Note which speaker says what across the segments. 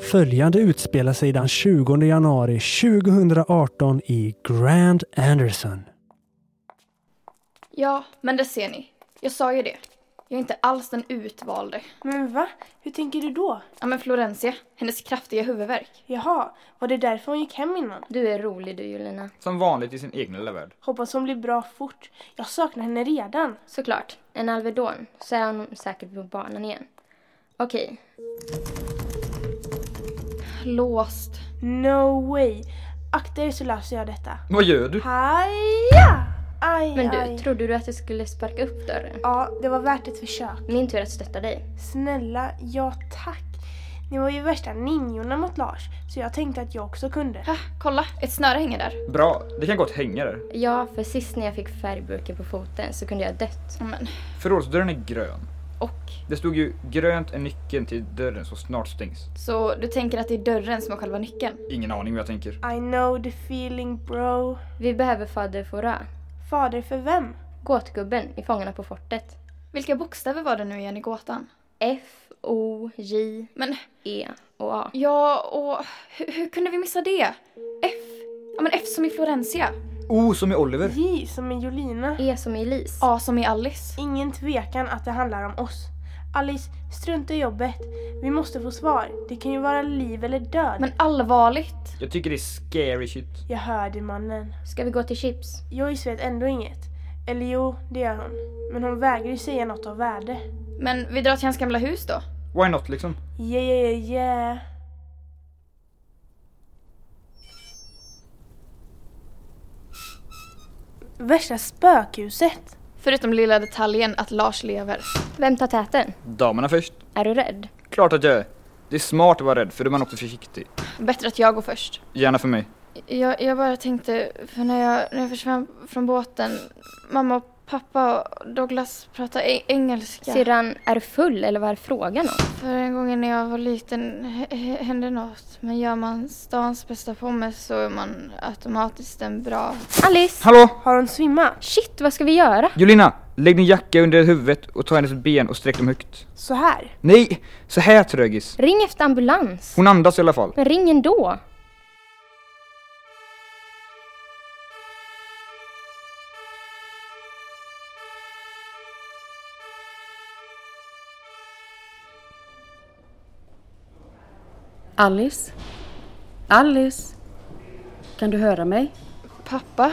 Speaker 1: följande utspelar sig den 20 januari 2018 i Grand Anderson.
Speaker 2: Ja, men det ser ni. Jag sa ju det. Jag är inte alls den utvalde.
Speaker 3: Men va? Hur tänker du då?
Speaker 2: Ja, men Florencia, hennes kraftiga huvudvärk.
Speaker 3: Jaha, var det därför hon gick hem innan?
Speaker 4: Du är rolig du Julina.
Speaker 5: Som vanligt i sin egna lilla värld.
Speaker 3: Hoppas hon blir bra fort. Jag saknar henne redan.
Speaker 4: Såklart, en Alvedon så är hon säkert på banan igen. Okej,
Speaker 2: Låst.
Speaker 3: No way! Akta er så löser jag detta.
Speaker 5: Vad gör du?
Speaker 3: Haja! Aj,
Speaker 4: men du,
Speaker 3: aj.
Speaker 4: trodde du att jag skulle sparka upp dörren?
Speaker 3: Ja, det var värt ett försök.
Speaker 4: Min tur att stötta dig.
Speaker 3: Snälla, ja tack. Ni var ju värsta ninjorna mot Lars, så jag tänkte att jag också kunde.
Speaker 2: Ah, kolla, ett snöre hänger där.
Speaker 5: Bra, det kan gott hänga där.
Speaker 4: Ja, för sist när jag fick färgburken på foten så kunde jag ha dött.
Speaker 2: Ja, Men,
Speaker 5: Förrådsdörren är grön.
Speaker 2: och?
Speaker 5: Det stod ju grönt är nyckeln till dörren så snart stängs.
Speaker 2: Så du tänker att det är dörren som är själva nyckeln?
Speaker 5: Ingen aning vad jag tänker.
Speaker 3: I know the feeling bro.
Speaker 4: Vi behöver fader Fora.
Speaker 3: Fader för vem?
Speaker 4: Gåtgubben i Fångarna på fortet.
Speaker 2: Vilka bokstäver var det nu igen i gåtan?
Speaker 4: F, O, J,
Speaker 2: Men,
Speaker 4: E och A.
Speaker 2: ja och hur, hur kunde vi missa det? F? Ja men F som i Florencia.
Speaker 5: O Oh, som i Oliver.
Speaker 3: J som är Jolina.
Speaker 4: E som i Elise.
Speaker 2: A som i Alice.
Speaker 3: Ingen tvekan att det handlar om oss. Alice, strunta i jobbet. Vi måste få svar. Det kan ju vara liv eller död.
Speaker 2: Men allvarligt.
Speaker 5: Jag tycker det är scary shit.
Speaker 3: Jag hör dig mannen.
Speaker 4: Ska vi gå till Chips?
Speaker 3: Joyce vet ändå inget. Eller jo, det gör hon. Men hon vägrar ju säga något av värde.
Speaker 2: Men vi drar till hans gamla hus då.
Speaker 5: Why not liksom?
Speaker 3: Yeah, yeah, yeah, yeah. Värsta spökhuset.
Speaker 2: Förutom lilla detaljen att Lars lever.
Speaker 4: Vem tar täten?
Speaker 5: Damerna först.
Speaker 4: Är du rädd?
Speaker 5: Klart att jag är. Det är smart att vara rädd för då är man också försiktig.
Speaker 2: Bättre att jag går först.
Speaker 5: Gärna för mig.
Speaker 2: Jag, jag bara tänkte, för när jag, när jag försvann från båten, mamma och pappa och Douglas pratade e- engelska.
Speaker 4: Syrran, är du full eller vad är frågan om?
Speaker 2: För en gång när jag var liten h- h- hände något. Men gör man stans bästa pommes så är man automatiskt en bra...
Speaker 4: Alice!
Speaker 5: Hallå!
Speaker 3: Har hon svimmat?
Speaker 4: Shit, vad ska vi göra?
Speaker 5: Julina! Lägg din jacka under huvudet och ta hennes ben och sträck dem högt.
Speaker 3: Så här.
Speaker 5: Nej! Så här trögis.
Speaker 4: Ring efter ambulans.
Speaker 5: Hon andas i alla fall.
Speaker 4: Men ring ändå.
Speaker 6: Alice? Alice? Kan du höra mig?
Speaker 2: Pappa?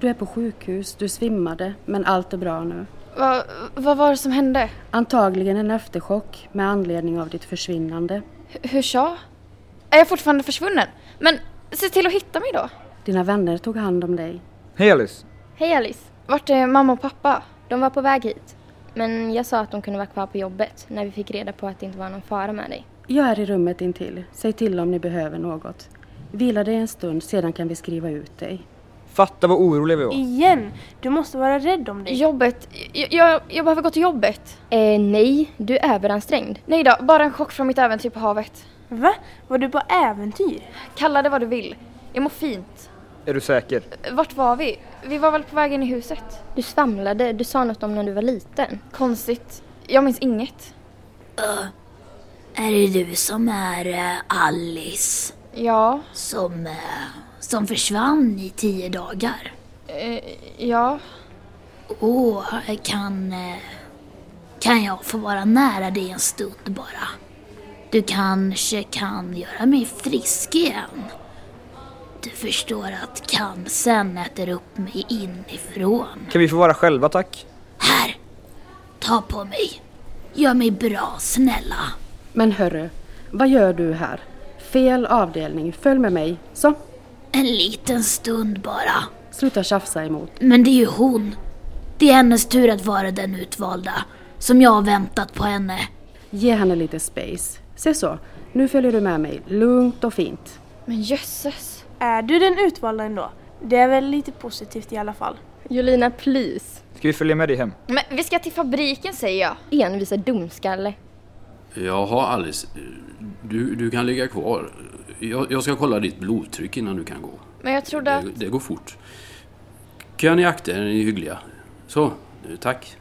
Speaker 6: Du är på sjukhus, du svimmade, men allt är bra nu.
Speaker 2: Va, vad var det som hände?
Speaker 6: Antagligen en efterchock med anledning av ditt försvinnande.
Speaker 2: H- hur sa? Är jag fortfarande försvunnen? Men se till att hitta mig då.
Speaker 6: Dina vänner tog hand om dig.
Speaker 5: Hej Alice!
Speaker 4: Hej Alice!
Speaker 2: Vart är mamma och pappa?
Speaker 4: De var på väg hit. Men jag sa att de kunde vara kvar på jobbet när vi fick reda på att det inte var någon fara med dig.
Speaker 6: Jag är i rummet intill. Säg till om ni behöver något. Vila dig en stund, sedan kan vi skriva ut dig.
Speaker 5: Fatta vad orolig vi var.
Speaker 3: Igen. Du måste vara rädd om dig.
Speaker 2: Jobbet? Jag, jag, jag behöver gå till jobbet.
Speaker 4: Eh, nej, du är överansträngd.
Speaker 2: Nej då, bara en chock från mitt äventyr på havet.
Speaker 3: Va? Var du på äventyr?
Speaker 2: Kalla det vad du vill. Jag mår fint.
Speaker 5: Är du säker?
Speaker 2: Vart var vi? Vi var väl på väg in i huset?
Speaker 4: Du svamlade, du sa något om när du var liten.
Speaker 2: Konstigt. Jag minns inget.
Speaker 7: Är det du som är eh, Alice?
Speaker 2: Ja,
Speaker 7: Som, eh, som försvann i tio dagar?
Speaker 2: eh, ja.
Speaker 7: Åh, kan, eh, kan jag få vara nära dig en stund bara? Du kanske kan göra mig frisk igen? Du förstår att cancern äter upp mig inifrån.
Speaker 5: Kan vi få vara själva tack?
Speaker 7: Här! Ta på mig. Gör mig bra, snälla.
Speaker 6: Men hörru, vad gör du här? Fel avdelning, följ med mig. Så,
Speaker 7: En liten stund bara.
Speaker 6: sluta tjafsa emot.
Speaker 7: Men det är ju hon. Det är hennes tur att vara den utvalda. Som jag har väntat på henne.
Speaker 6: Ge henne lite space. Se så, nu följer du med mig, lugnt och fint.
Speaker 2: Men jösses.
Speaker 3: Är du den utvalda ändå? Det är väl lite positivt i alla fall.
Speaker 4: Julina, please.
Speaker 5: Ska vi följa med dig hem?
Speaker 2: Men vi ska till fabriken säger jag.
Speaker 4: Envisa dumskalle.
Speaker 8: Jaha Alice, du, du kan ligga kvar. Jag, jag ska kolla ditt blodtryck innan du kan gå.
Speaker 2: Men jag trodde att...
Speaker 8: Det, det går fort. Kan ni akta er, ni är hyggliga. Så, tack.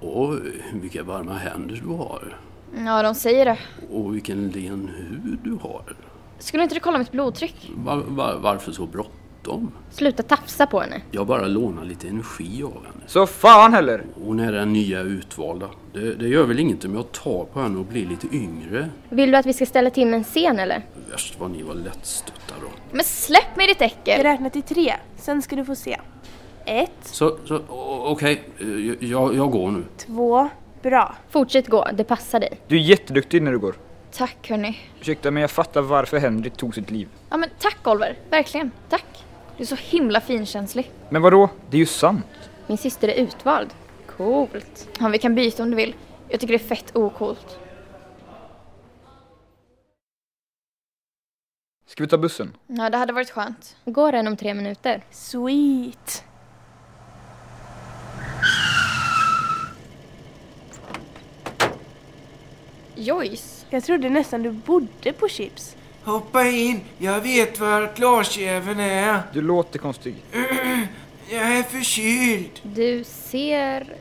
Speaker 8: Åh, vilka varma händer du har.
Speaker 2: Ja, de säger det.
Speaker 9: Och vilken len hud du har.
Speaker 4: Skulle inte du kolla mitt blodtryck?
Speaker 9: Var, var, varför så bråttom?
Speaker 4: Sluta tafsa på henne.
Speaker 9: Jag bara lånar lite energi av henne.
Speaker 5: Så fan heller!
Speaker 9: Hon är den nya utvalda. Det, det gör väl inget om jag tar på henne och blir lite yngre?
Speaker 4: Vill du att vi ska ställa till med en scen eller?
Speaker 9: Värst vad ni var lättstötta då.
Speaker 2: Men släpp mig ditt
Speaker 3: Jag
Speaker 2: äckel!
Speaker 3: räknar till tre, sen ska du få se. Ett,
Speaker 9: Så, så o- okej, eh, jag, jag går nu.
Speaker 3: två, bra.
Speaker 4: Fortsätt gå, det passar dig.
Speaker 5: Du är jätteduktig när du går.
Speaker 2: Tack hörni.
Speaker 5: Ursäkta men jag fattar varför Henry tog sitt liv.
Speaker 2: Ja men tack Oliver, verkligen. Tack. Du är så himla finkänslig.
Speaker 5: Men vadå? Det är ju sant.
Speaker 4: Min syster är utvald. Coolt.
Speaker 2: Ja, vi kan byta om du vill. Jag tycker det är fett ocoolt.
Speaker 5: Ska vi ta bussen?
Speaker 2: Ja, det hade varit skönt.
Speaker 4: Går den om tre minuter?
Speaker 3: Sweet.
Speaker 2: Joyce.
Speaker 3: Jag trodde nästan du bodde på chips.
Speaker 8: Hoppa in, jag vet var glasjäveln är.
Speaker 5: Du låter konstig.
Speaker 8: Jag är förkyld.
Speaker 4: Du ser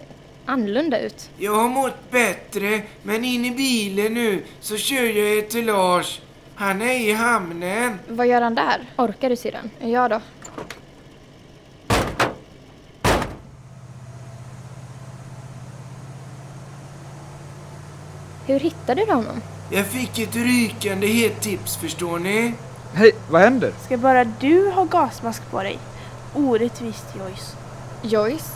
Speaker 4: annorlunda ut.
Speaker 8: Jag har mått bättre, men in i bilen nu så kör jag er till Lars. Han är i hamnen.
Speaker 2: Vad gör han där?
Speaker 4: Orkar du syrran?
Speaker 2: Ja då.
Speaker 4: Hur hittade du honom?
Speaker 8: Jag fick ett rykande hett tips förstår ni.
Speaker 5: Hej, vad händer?
Speaker 3: Ska bara du ha gasmask på dig? Orättvist Joyce.
Speaker 2: Joyce.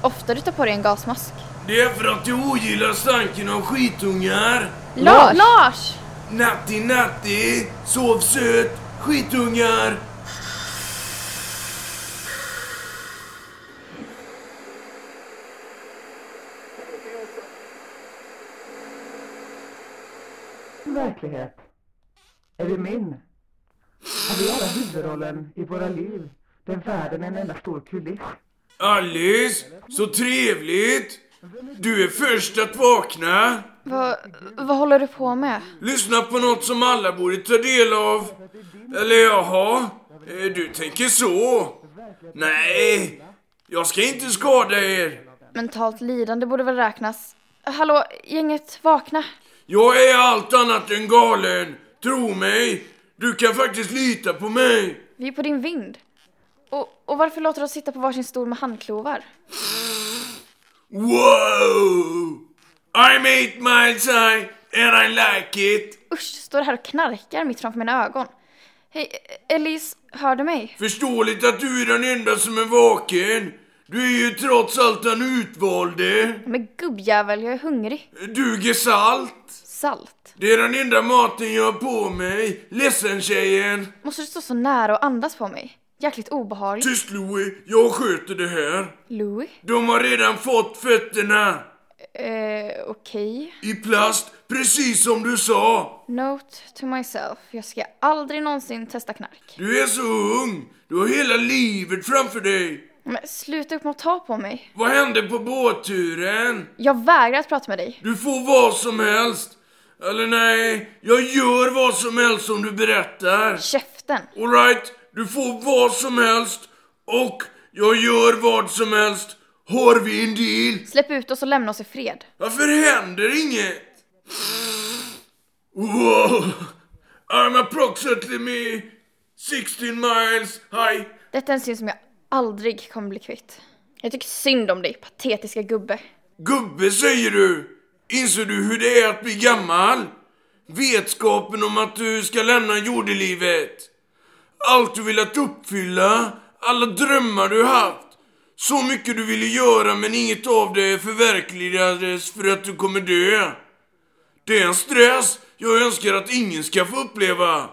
Speaker 2: Ofta du tar på dig en gasmask.
Speaker 9: Det är för att jag ogillar stanken av skitungar.
Speaker 2: Lars! Lars!
Speaker 8: Natti natti, sov söt, skitungar.
Speaker 10: verklighet? Är det min? Har vi alla huvudrollen i våra liv? Den världen är en enda stor kuliss.
Speaker 8: Alice, så trevligt. Du är först att vakna.
Speaker 2: Vad, vad håller du på med?
Speaker 8: Lyssna på något som alla borde ta del av. Eller jaha, eh, du tänker så? Nej, jag ska inte skada er.
Speaker 2: Mentalt lidande borde väl räknas? Hallå, gänget, vakna!
Speaker 8: Jag är allt annat än galen. Tro mig, du kan faktiskt lita på mig.
Speaker 2: Vi är på din vind. Och, och varför låter du oss sitta på varsin stol med handklovar?
Speaker 8: Wow! I'm eight miles high and I like it.
Speaker 2: Usch, står här och knarkar mitt framför mina ögon. Hej, Elise, hör du mig?
Speaker 8: Förståeligt att du är den enda som är vaken. Du är ju trots allt den utvalde.
Speaker 2: Men gubbjävel, jag är hungrig.
Speaker 8: Duger salt.
Speaker 2: Salt.
Speaker 8: Det är den enda maten jag har på mig. Ledsen tjejen.
Speaker 2: Måste du stå så nära och andas på mig? Jäkligt obehagligt.
Speaker 8: Tyst Louie, jag sköter det här.
Speaker 2: Louis?
Speaker 8: De har redan fått fötterna.
Speaker 2: Eh, okej.
Speaker 8: I plast, precis som du sa.
Speaker 2: Note to myself. Jag ska aldrig någonsin testa knark.
Speaker 8: Du är så ung. Du har hela livet framför dig.
Speaker 2: Men sluta upp med att ta på mig.
Speaker 8: Vad hände på båtturen?
Speaker 2: Jag vägrar att prata med dig.
Speaker 8: Du får vad som helst. Eller nej, jag gör vad som helst som du berättar.
Speaker 2: Käften!
Speaker 8: Alright, du får vad som helst. Och jag gör vad som helst. Har vi en deal?
Speaker 2: Släpp ut oss och lämna oss i fred.
Speaker 8: Varför händer inget? Wow! I'm approximately me 16 miles high.
Speaker 2: Detta är en syn som jag aldrig kommer bli kvitt. Jag tycker synd om dig, patetiska gubbe.
Speaker 8: Gubbe säger du! Inser du hur det är att bli gammal? Vetskapen om att du ska lämna jordelivet. Allt du velat uppfylla, alla drömmar du haft. Så mycket du ville göra men inget av det förverkligades för att du kommer dö. Det är en stress jag önskar att ingen ska få uppleva.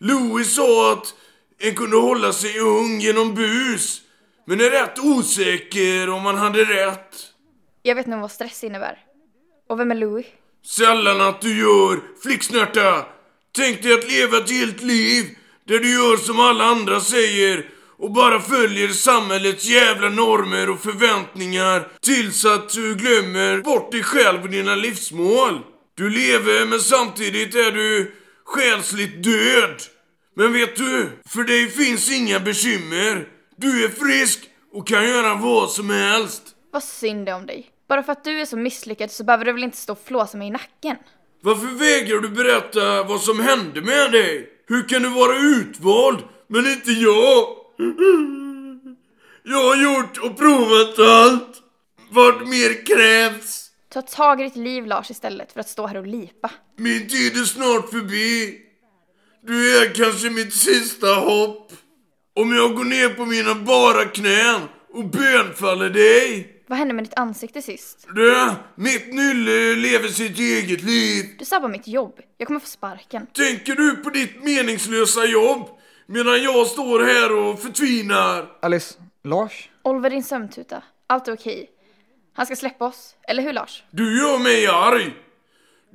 Speaker 8: Louis sa att en kunde hålla sig ung genom bus. Men är rätt osäker om han hade rätt.
Speaker 2: Jag vet nog vad stress innebär. Och vem är Louis?
Speaker 8: Sällan att du gör, flicksnärta! Tänk dig att leva ett helt liv där du gör som alla andra säger och bara följer samhällets jävla normer och förväntningar tills att du glömmer bort dig själv och dina livsmål. Du lever men samtidigt är du själsligt död. Men vet du? För dig finns inga bekymmer. Du är frisk och kan göra vad som helst.
Speaker 2: Vad synd det är om dig. Bara för att du är så misslyckad så behöver du väl inte stå och flåsa mig i nacken?
Speaker 8: Varför vägrar du berätta vad som hände med dig? Hur kan du vara utvald, men inte jag? Jag har gjort och provat allt. Vad mer krävs?
Speaker 2: Ta tag i ditt liv Lars istället för att stå här och lipa.
Speaker 8: Min tid är snart förbi. Du är kanske mitt sista hopp. Om jag går ner på mina bara knän och bönfaller dig.
Speaker 2: Vad hände med ditt ansikte sist?
Speaker 8: Du, mitt nylle lever sitt eget liv.
Speaker 2: Du sabbar mitt jobb. Jag kommer få sparken.
Speaker 8: Tänker du på ditt meningslösa jobb? Medan jag står här och förtvinar.
Speaker 5: Alice, Lars?
Speaker 2: Oliver din sömntuta. Allt är okej. Han ska släppa oss. Eller hur Lars?
Speaker 8: Du gör mig arg.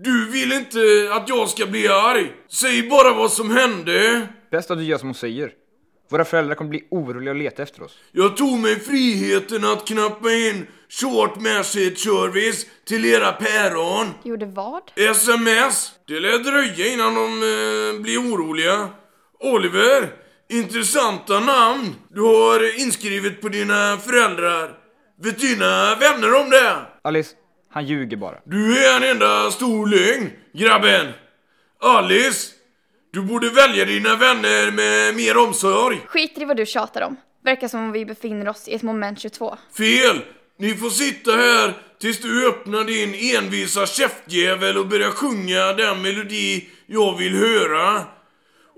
Speaker 8: Du vill inte att jag ska bli arg. Säg bara vad som hände.
Speaker 5: Bäst att du gör som hon säger. Våra föräldrar kommer bli oroliga och leta efter oss.
Speaker 8: Jag tog mig friheten att knappa in short message service till era päron.
Speaker 2: Du gjorde vad?
Speaker 8: Sms! Det lär dröja innan de eh, blir oroliga. Oliver, intressanta namn du har inskrivet på dina föräldrar. Vet dina vänner om det?
Speaker 5: Alice, han ljuger bara.
Speaker 8: Du är en enda stor lögn, grabben. Alice, du borde välja dina vänner med mer omsorg.
Speaker 2: Skiter i vad du tjatar om. Verkar som om vi befinner oss i ett moment 22.
Speaker 8: Fel! Ni får sitta här tills du öppnar din envisa käftjävel och börjar sjunga den melodi jag vill höra.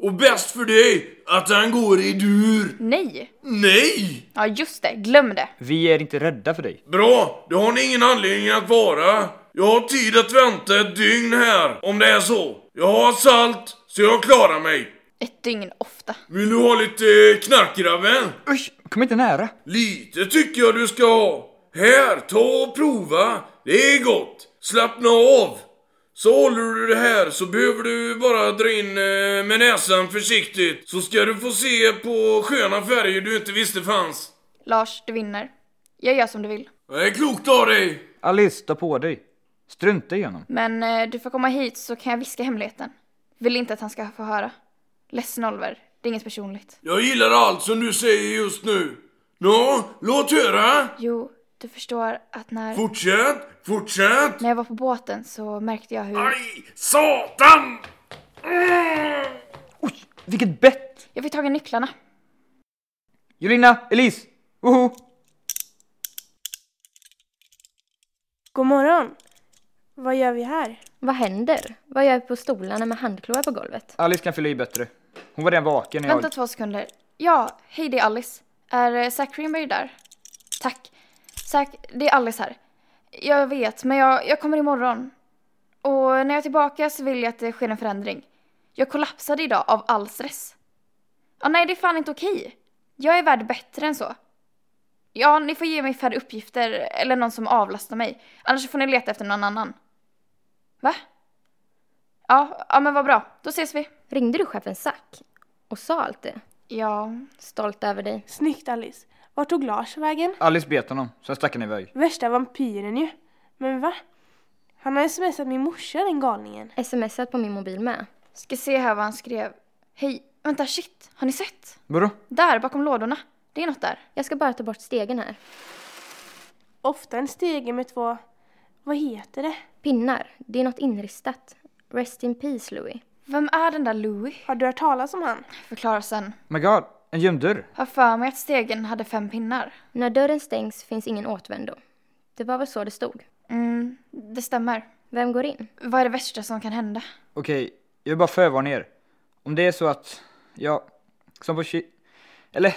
Speaker 8: Och bäst för dig att han går i dur.
Speaker 2: Nej!
Speaker 8: Nej!
Speaker 2: Ja just det, glöm det.
Speaker 5: Vi är inte rädda för dig.
Speaker 8: Bra, det har ni ingen anledning att vara. Jag har tid att vänta ett dygn här, om det är så. Jag har salt, så jag klarar mig.
Speaker 2: Ett dygn ofta.
Speaker 8: Vill du ha lite knark grabben?
Speaker 5: Usch, kom inte nära.
Speaker 8: Lite tycker jag du ska ha. Här, ta och prova. Det är gott. Slappna av. Så håller du det här så behöver du bara dra in eh, med näsan försiktigt. Så ska du få se på sköna färger du inte visste fanns.
Speaker 2: Lars, du vinner. Jag gör som du vill.
Speaker 8: Det är klokt av dig.
Speaker 5: Alice, ta på dig. Strunta i honom.
Speaker 2: Men eh, du får komma hit så kan jag viska hemligheten. Vill inte att han ska få höra. Ledsen Oliver, det är inget personligt.
Speaker 8: Jag gillar allt som du säger just nu. Nå, låt höra.
Speaker 2: Jo, du förstår att när,
Speaker 8: Fortsätt, fortsätt.
Speaker 2: när jag var på båten så märkte jag hur...
Speaker 8: Aj, satan! Mm.
Speaker 5: Oj, vilket bett!
Speaker 2: Jag fick tag i nycklarna.
Speaker 5: Julina, Elise! Woho!
Speaker 3: God morgon. Vad gör vi här?
Speaker 4: Vad händer? Vad gör jag på stolarna med handklovar på golvet?
Speaker 5: Alice kan fylla i bättre. Hon var redan vaken när jag...
Speaker 2: Vänta två sekunder. Ja, hej det är Alice. Är eh, Zack Greenberg där? Tack. Zack, det är Alice här. Jag vet, men jag, jag kommer imorgon. Och när jag är tillbaka så vill jag att det sker en förändring. Jag kollapsade idag av all stress. Ja, nej, det är fan inte okej. Jag är värd bättre än så. Ja, ni får ge mig färre uppgifter eller någon som avlastar mig. Annars får ni leta efter någon annan. Va? Ja, ja men vad bra. Då ses vi.
Speaker 4: Ringde du chefen Zack och sa allt det?
Speaker 2: Ja,
Speaker 4: Stolt över dig.
Speaker 3: Snyggt Alice. Vart tog Lars vägen?
Speaker 5: Alice bet honom, sen stack han iväg.
Speaker 3: Värsta vampyren ju. Men va? Han har smsat min morsa den galningen.
Speaker 4: Smsat på min mobil med.
Speaker 2: Ska se här vad han skrev. Hej, vänta shit, har ni sett?
Speaker 5: Vadå?
Speaker 2: Där bakom lådorna. Det är något där.
Speaker 4: Jag ska bara ta bort stegen här.
Speaker 3: Ofta en stege med två... Vad heter det?
Speaker 4: Pinnar. Det är något inristat. Rest in peace, Louis.
Speaker 2: Vem är den där Louis?
Speaker 3: Har du hört talas om han?
Speaker 2: Förklarar sen.
Speaker 5: My god, en gömdörr.
Speaker 2: Har för mig att stegen hade fem pinnar.
Speaker 4: När dörren stängs finns ingen återvändo. Det var väl så det stod.
Speaker 2: Mm, det stämmer.
Speaker 4: Vem går in?
Speaker 2: Vad är det värsta som kan hända?
Speaker 5: Okej, jag vill bara förvarna er. Om det är så att, ja, som på ki- Eller,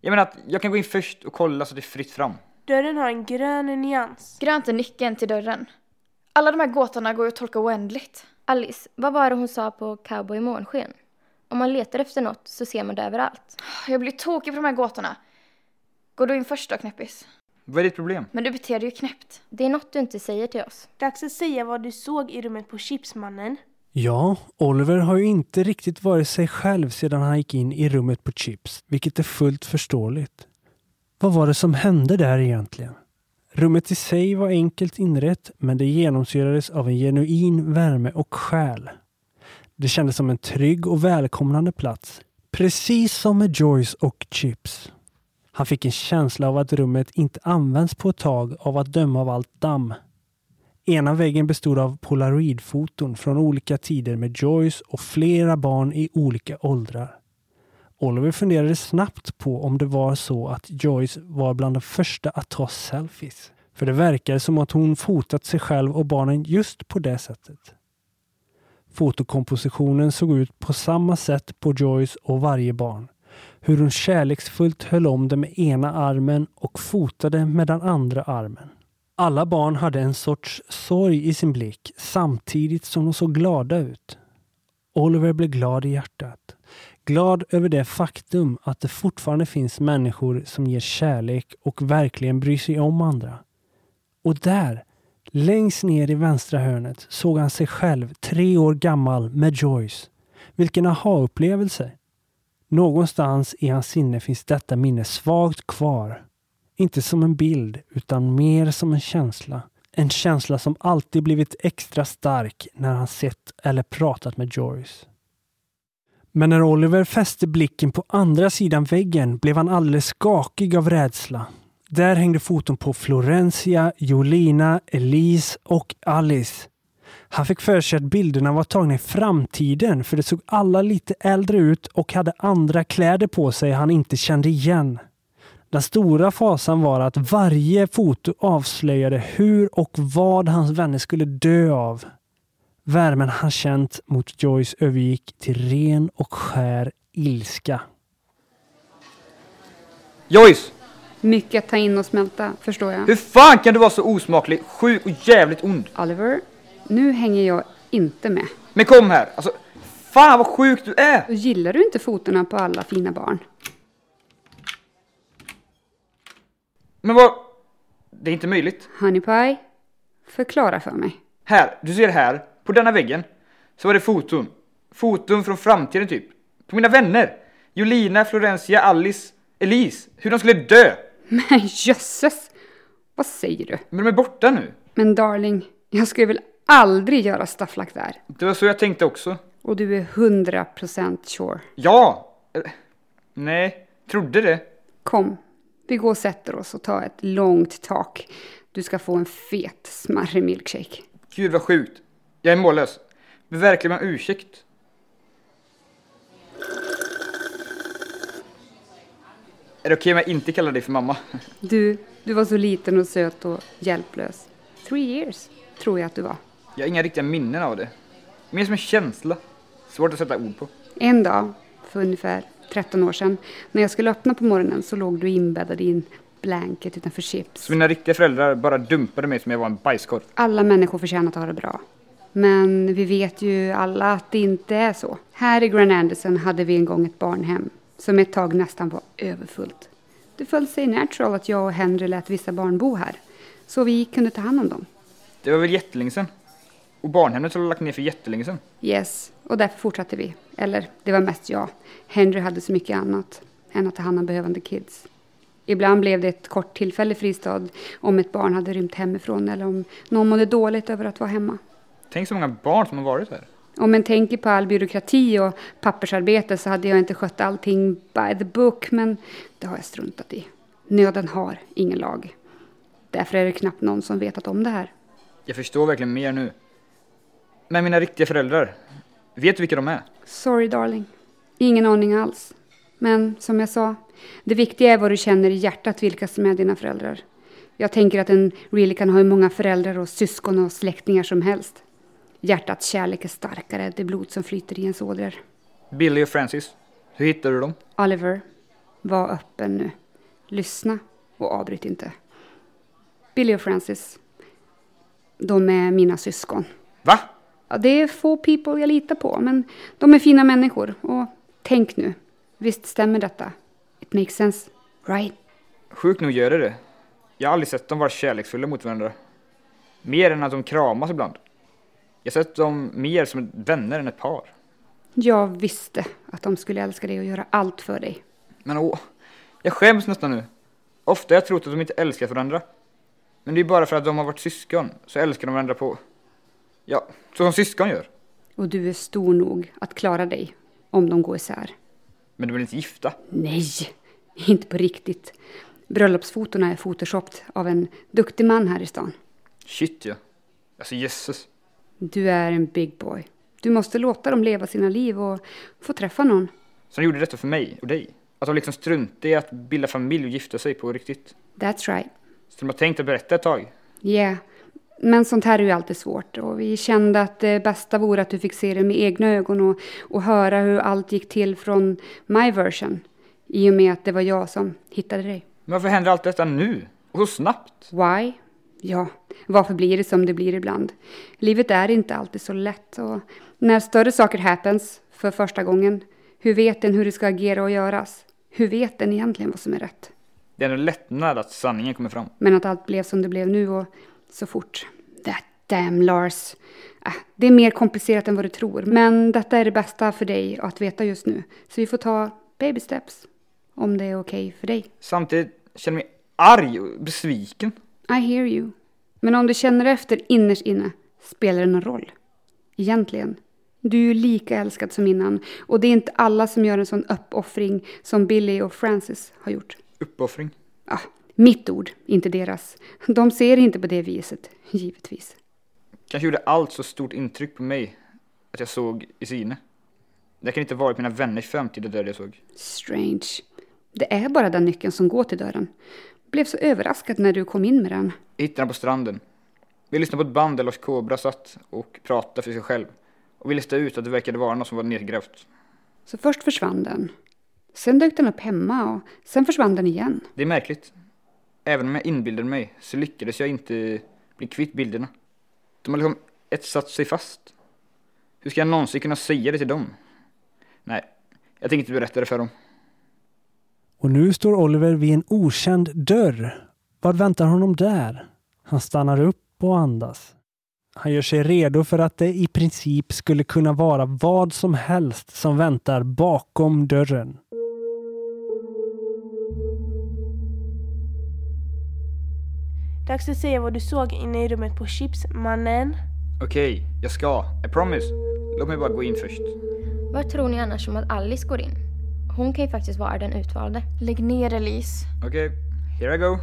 Speaker 5: jag menar att jag kan gå in först och kolla så det är fritt fram.
Speaker 3: Dörren har en grön nyans.
Speaker 2: Grönt är nyckeln till dörren. Alla de här gåtorna går ju att tolka oändligt.
Speaker 4: Alice, vad var det hon sa på Cowboy i månsken? Om man letar efter något så ser man det överallt.
Speaker 2: Jag blir tokig på de här gåtorna. Går du in först då, knäppis?
Speaker 5: Vad är ditt problem?
Speaker 2: Men du beter dig ju knäppt.
Speaker 4: Det är något du inte säger till oss.
Speaker 3: Dags att säga vad du såg i rummet på Chipsmannen.
Speaker 1: Ja, Oliver har ju inte riktigt varit sig själv sedan han gick in i rummet på Chips, vilket är fullt förståeligt. Vad var det som hände där egentligen? Rummet i sig var enkelt inrett, men det genomsyrades av en genuin värme och själ. Det kändes som en trygg och välkomnande plats, precis som med Joyce och Chips. Han fick en känsla av att rummet inte används på ett tag av att döma av allt damm. Ena väggen bestod av polaroidfoton från olika tider med Joyce och flera barn i olika åldrar. Oliver funderade snabbt på om det var så att Joyce var bland de första att ta selfies. För det verkade som att hon fotat sig själv och barnen just på det sättet. Fotokompositionen såg ut på samma sätt på Joyce och varje barn. Hur hon kärleksfullt höll om det med ena armen och fotade med den andra armen. Alla barn hade en sorts sorg i sin blick samtidigt som de såg glada ut. Oliver blev glad i hjärtat. Glad över det faktum att det fortfarande finns människor som ger kärlek och verkligen bryr sig om andra. Och där, längst ner i vänstra hörnet, såg han sig själv tre år gammal med Joyce. Vilken aha-upplevelse! Någonstans i hans sinne finns detta minne svagt kvar. Inte som en bild, utan mer som en känsla. En känsla som alltid blivit extra stark när han sett eller pratat med Joyce. Men när Oliver fäste blicken på andra sidan väggen blev han alldeles skakig av rädsla. Där hängde foton på Florencia, Jolina, Elise och Alice. Han fick för sig att bilderna var tagna i framtiden för det såg alla lite äldre ut och hade andra kläder på sig han inte kände igen. Den stora fasan var att varje foto avslöjade hur och vad hans vänner skulle dö av. Värmen han känt mot Joyce övergick till ren och skär ilska.
Speaker 5: Joyce!
Speaker 7: Mycket att ta in och smälta, förstår jag.
Speaker 5: Hur fan kan du vara så osmaklig, sjuk och jävligt ond?
Speaker 7: Oliver, nu hänger jag inte med.
Speaker 5: Men kom här! Alltså, fan vad sjuk du är!
Speaker 7: Gillar du inte fotona på alla fina barn?
Speaker 5: Men vad... Det är inte möjligt.
Speaker 7: Honey Pie, förklara för mig.
Speaker 5: Här, du ser här, på denna väggen, så var det foton. Foton från framtiden typ. På mina vänner! Jolina, Florencia, Alice, Elise. Hur de skulle dö!
Speaker 7: Men jösses! Vad säger du?
Speaker 5: Men de är borta nu.
Speaker 7: Men darling, jag skulle väl aldrig göra stafflack där?
Speaker 5: Det var så jag tänkte också.
Speaker 7: Och du är 100% sure.
Speaker 5: Ja! Eh, Nej, trodde det.
Speaker 7: Kom, vi går och sätter oss och tar ett långt tak. Du ska få en fet, smarrig milkshake.
Speaker 5: Gud vad sjukt. Jag är mållös. Men verkligen med ursäkt. Är det okej om jag inte kallar dig för mamma?
Speaker 7: Du, du var så liten och söt och hjälplös. Three years, tror jag att du var.
Speaker 5: Jag har inga riktiga minnen av det. Mer som en känsla. Svårt att sätta ord på.
Speaker 7: En dag, för ungefär 13 år sedan, när jag skulle öppna på morgonen så låg du inbäddad i en blanket utanför chips.
Speaker 5: Så mina riktiga föräldrar bara dumpade mig som jag var en bajskorv.
Speaker 7: Alla människor förtjänar att ha det bra. Men vi vet ju alla att det inte är så. Här i Grand Anderson hade vi en gång ett barnhem som ett tag nästan var överfullt. Det föll sig natural att jag och Henry lät vissa barn bo här, så vi kunde ta hand om dem.
Speaker 5: Det var väl jättelänge sedan? Och barnhemmet har lagt ner för jättelänge sedan.
Speaker 7: Yes, och därför fortsatte vi. Eller, det var mest jag. Henry hade så mycket annat än att ta hand om behövande kids. Ibland blev det ett kort tillfälle fristad om ett barn hade rymt hemifrån eller om någon mådde dåligt över att vara hemma.
Speaker 5: Tänk så många barn som har varit här.
Speaker 7: Om man tänker på all byråkrati och pappersarbete så hade jag inte skött allting by the book, men det har jag struntat i. Nöden har ingen lag. Därför är det knappt någon som vetat om det här.
Speaker 5: Jag förstår verkligen mer nu. Men mina riktiga föräldrar, vet du vilka de är?
Speaker 7: Sorry darling. Ingen aning alls. Men som jag sa, det viktiga är vad du känner i hjärtat vilka som är dina föräldrar. Jag tänker att en really kan ha hur många föräldrar och syskon och släktingar som helst. Hjärtats kärlek är starkare än det blod som flyter i ens ådror.
Speaker 5: Billy och Francis. Hur hittade du dem?
Speaker 7: Oliver, var öppen nu. Lyssna och avbryt inte. Billy och Francis, de är mina syskon.
Speaker 5: Va?
Speaker 7: Ja, det är få people jag litar på, men de är fina människor. Och tänk nu, visst stämmer detta? It makes sense, right?
Speaker 5: Sjukt nog gör det det. Jag har aldrig sett dem vara kärleksfulla mot varandra. Mer än att de kramas ibland. Jag har sett dem mer som vänner än ett par.
Speaker 7: Jag visste att de skulle älska dig och göra allt för dig.
Speaker 5: Men åh, jag skäms nästan nu. Ofta har jag trott att de inte älskar varandra. Men det är bara för att de har varit syskon, så älskar de varandra på... Ja, så som syskon gör.
Speaker 7: Och du är stor nog att klara dig om de går isär.
Speaker 5: Men de är inte gifta.
Speaker 7: Nej, Inte på riktigt. Bröllopsfotona är photoshopped av en duktig man här i stan.
Speaker 5: Shit ja. Alltså jösses.
Speaker 7: Du är en big boy. Du måste låta dem leva sina liv och få träffa någon.
Speaker 5: Som gjorde detta för mig och dig. Att de liksom struntade i att bilda familj och gifta sig på riktigt.
Speaker 7: That's right.
Speaker 5: Så de har tänkt att berätta ett tag.
Speaker 7: Yeah. Men sånt här är ju alltid svårt och vi kände att det bästa vore att du fick se det med egna ögon och, och höra hur allt gick till från my version. I och med att det var jag som hittade dig.
Speaker 5: Men varför händer allt detta nu? Och så snabbt?
Speaker 7: Why? Ja, varför blir det som det blir ibland? Livet är inte alltid så lätt och när större saker happens för första gången, hur vet en hur det ska agera och göras? Hur vet en egentligen vad som är rätt?
Speaker 5: Det är en lättnad att sanningen kommer fram.
Speaker 7: Men att allt blev som det blev nu och så fort. That damn Lars. Äh, det är mer komplicerat än vad du tror. Men detta är det bästa för dig att veta just nu. Så vi får ta baby steps. Om det är okej för dig.
Speaker 5: Samtidigt känner jag mig arg och besviken.
Speaker 7: I hear you. Men om du känner efter innerst inne, spelar det någon roll? Egentligen. Du är ju lika älskad som innan. Och det är inte alla som gör en sån uppoffring som Billy och Francis har gjort.
Speaker 5: Uppoffring.
Speaker 7: Ah, mitt ord, inte deras. De ser inte på det viset, givetvis.
Speaker 5: Kanske gjorde allt så stort intryck på mig att jag såg i Sine. Det kan inte varit mina vänners framtida död jag såg.
Speaker 7: Strange. Det är bara den nyckeln som går till dörren. Blev så överraskad när du kom in med den.
Speaker 5: Jag hittade den på stranden. Vi lyssnade på ett band där Lars Kobra satt och pratade för sig själv. Och vi listade ut att det verkade vara något som var nedgrävt.
Speaker 7: Så först försvann den. Sen dök den upp hemma och sen försvann den igen.
Speaker 5: Det är märkligt. Även om jag inbillade mig så lyckades jag inte bli kvitt bilderna. De har liksom etsat sig fast. Hur ska jag någonsin kunna säga det till dem? Nej, jag tänker inte berätta det för dem.
Speaker 1: Och nu står Oliver vid en okänd dörr. Vad väntar honom där? Han stannar upp och andas. Han gör sig redo för att det i princip skulle kunna vara vad som helst som väntar bakom dörren.
Speaker 3: Dags att säga vad du såg inne i rummet på Chips, mannen.
Speaker 5: Okej, jag ska. I promise. Låt mig bara gå in först.
Speaker 4: Vad tror ni annars om att Alice går in? Hon kan ju faktiskt vara den utvalde.
Speaker 2: Lägg ner Elise.
Speaker 5: Okej, here I go.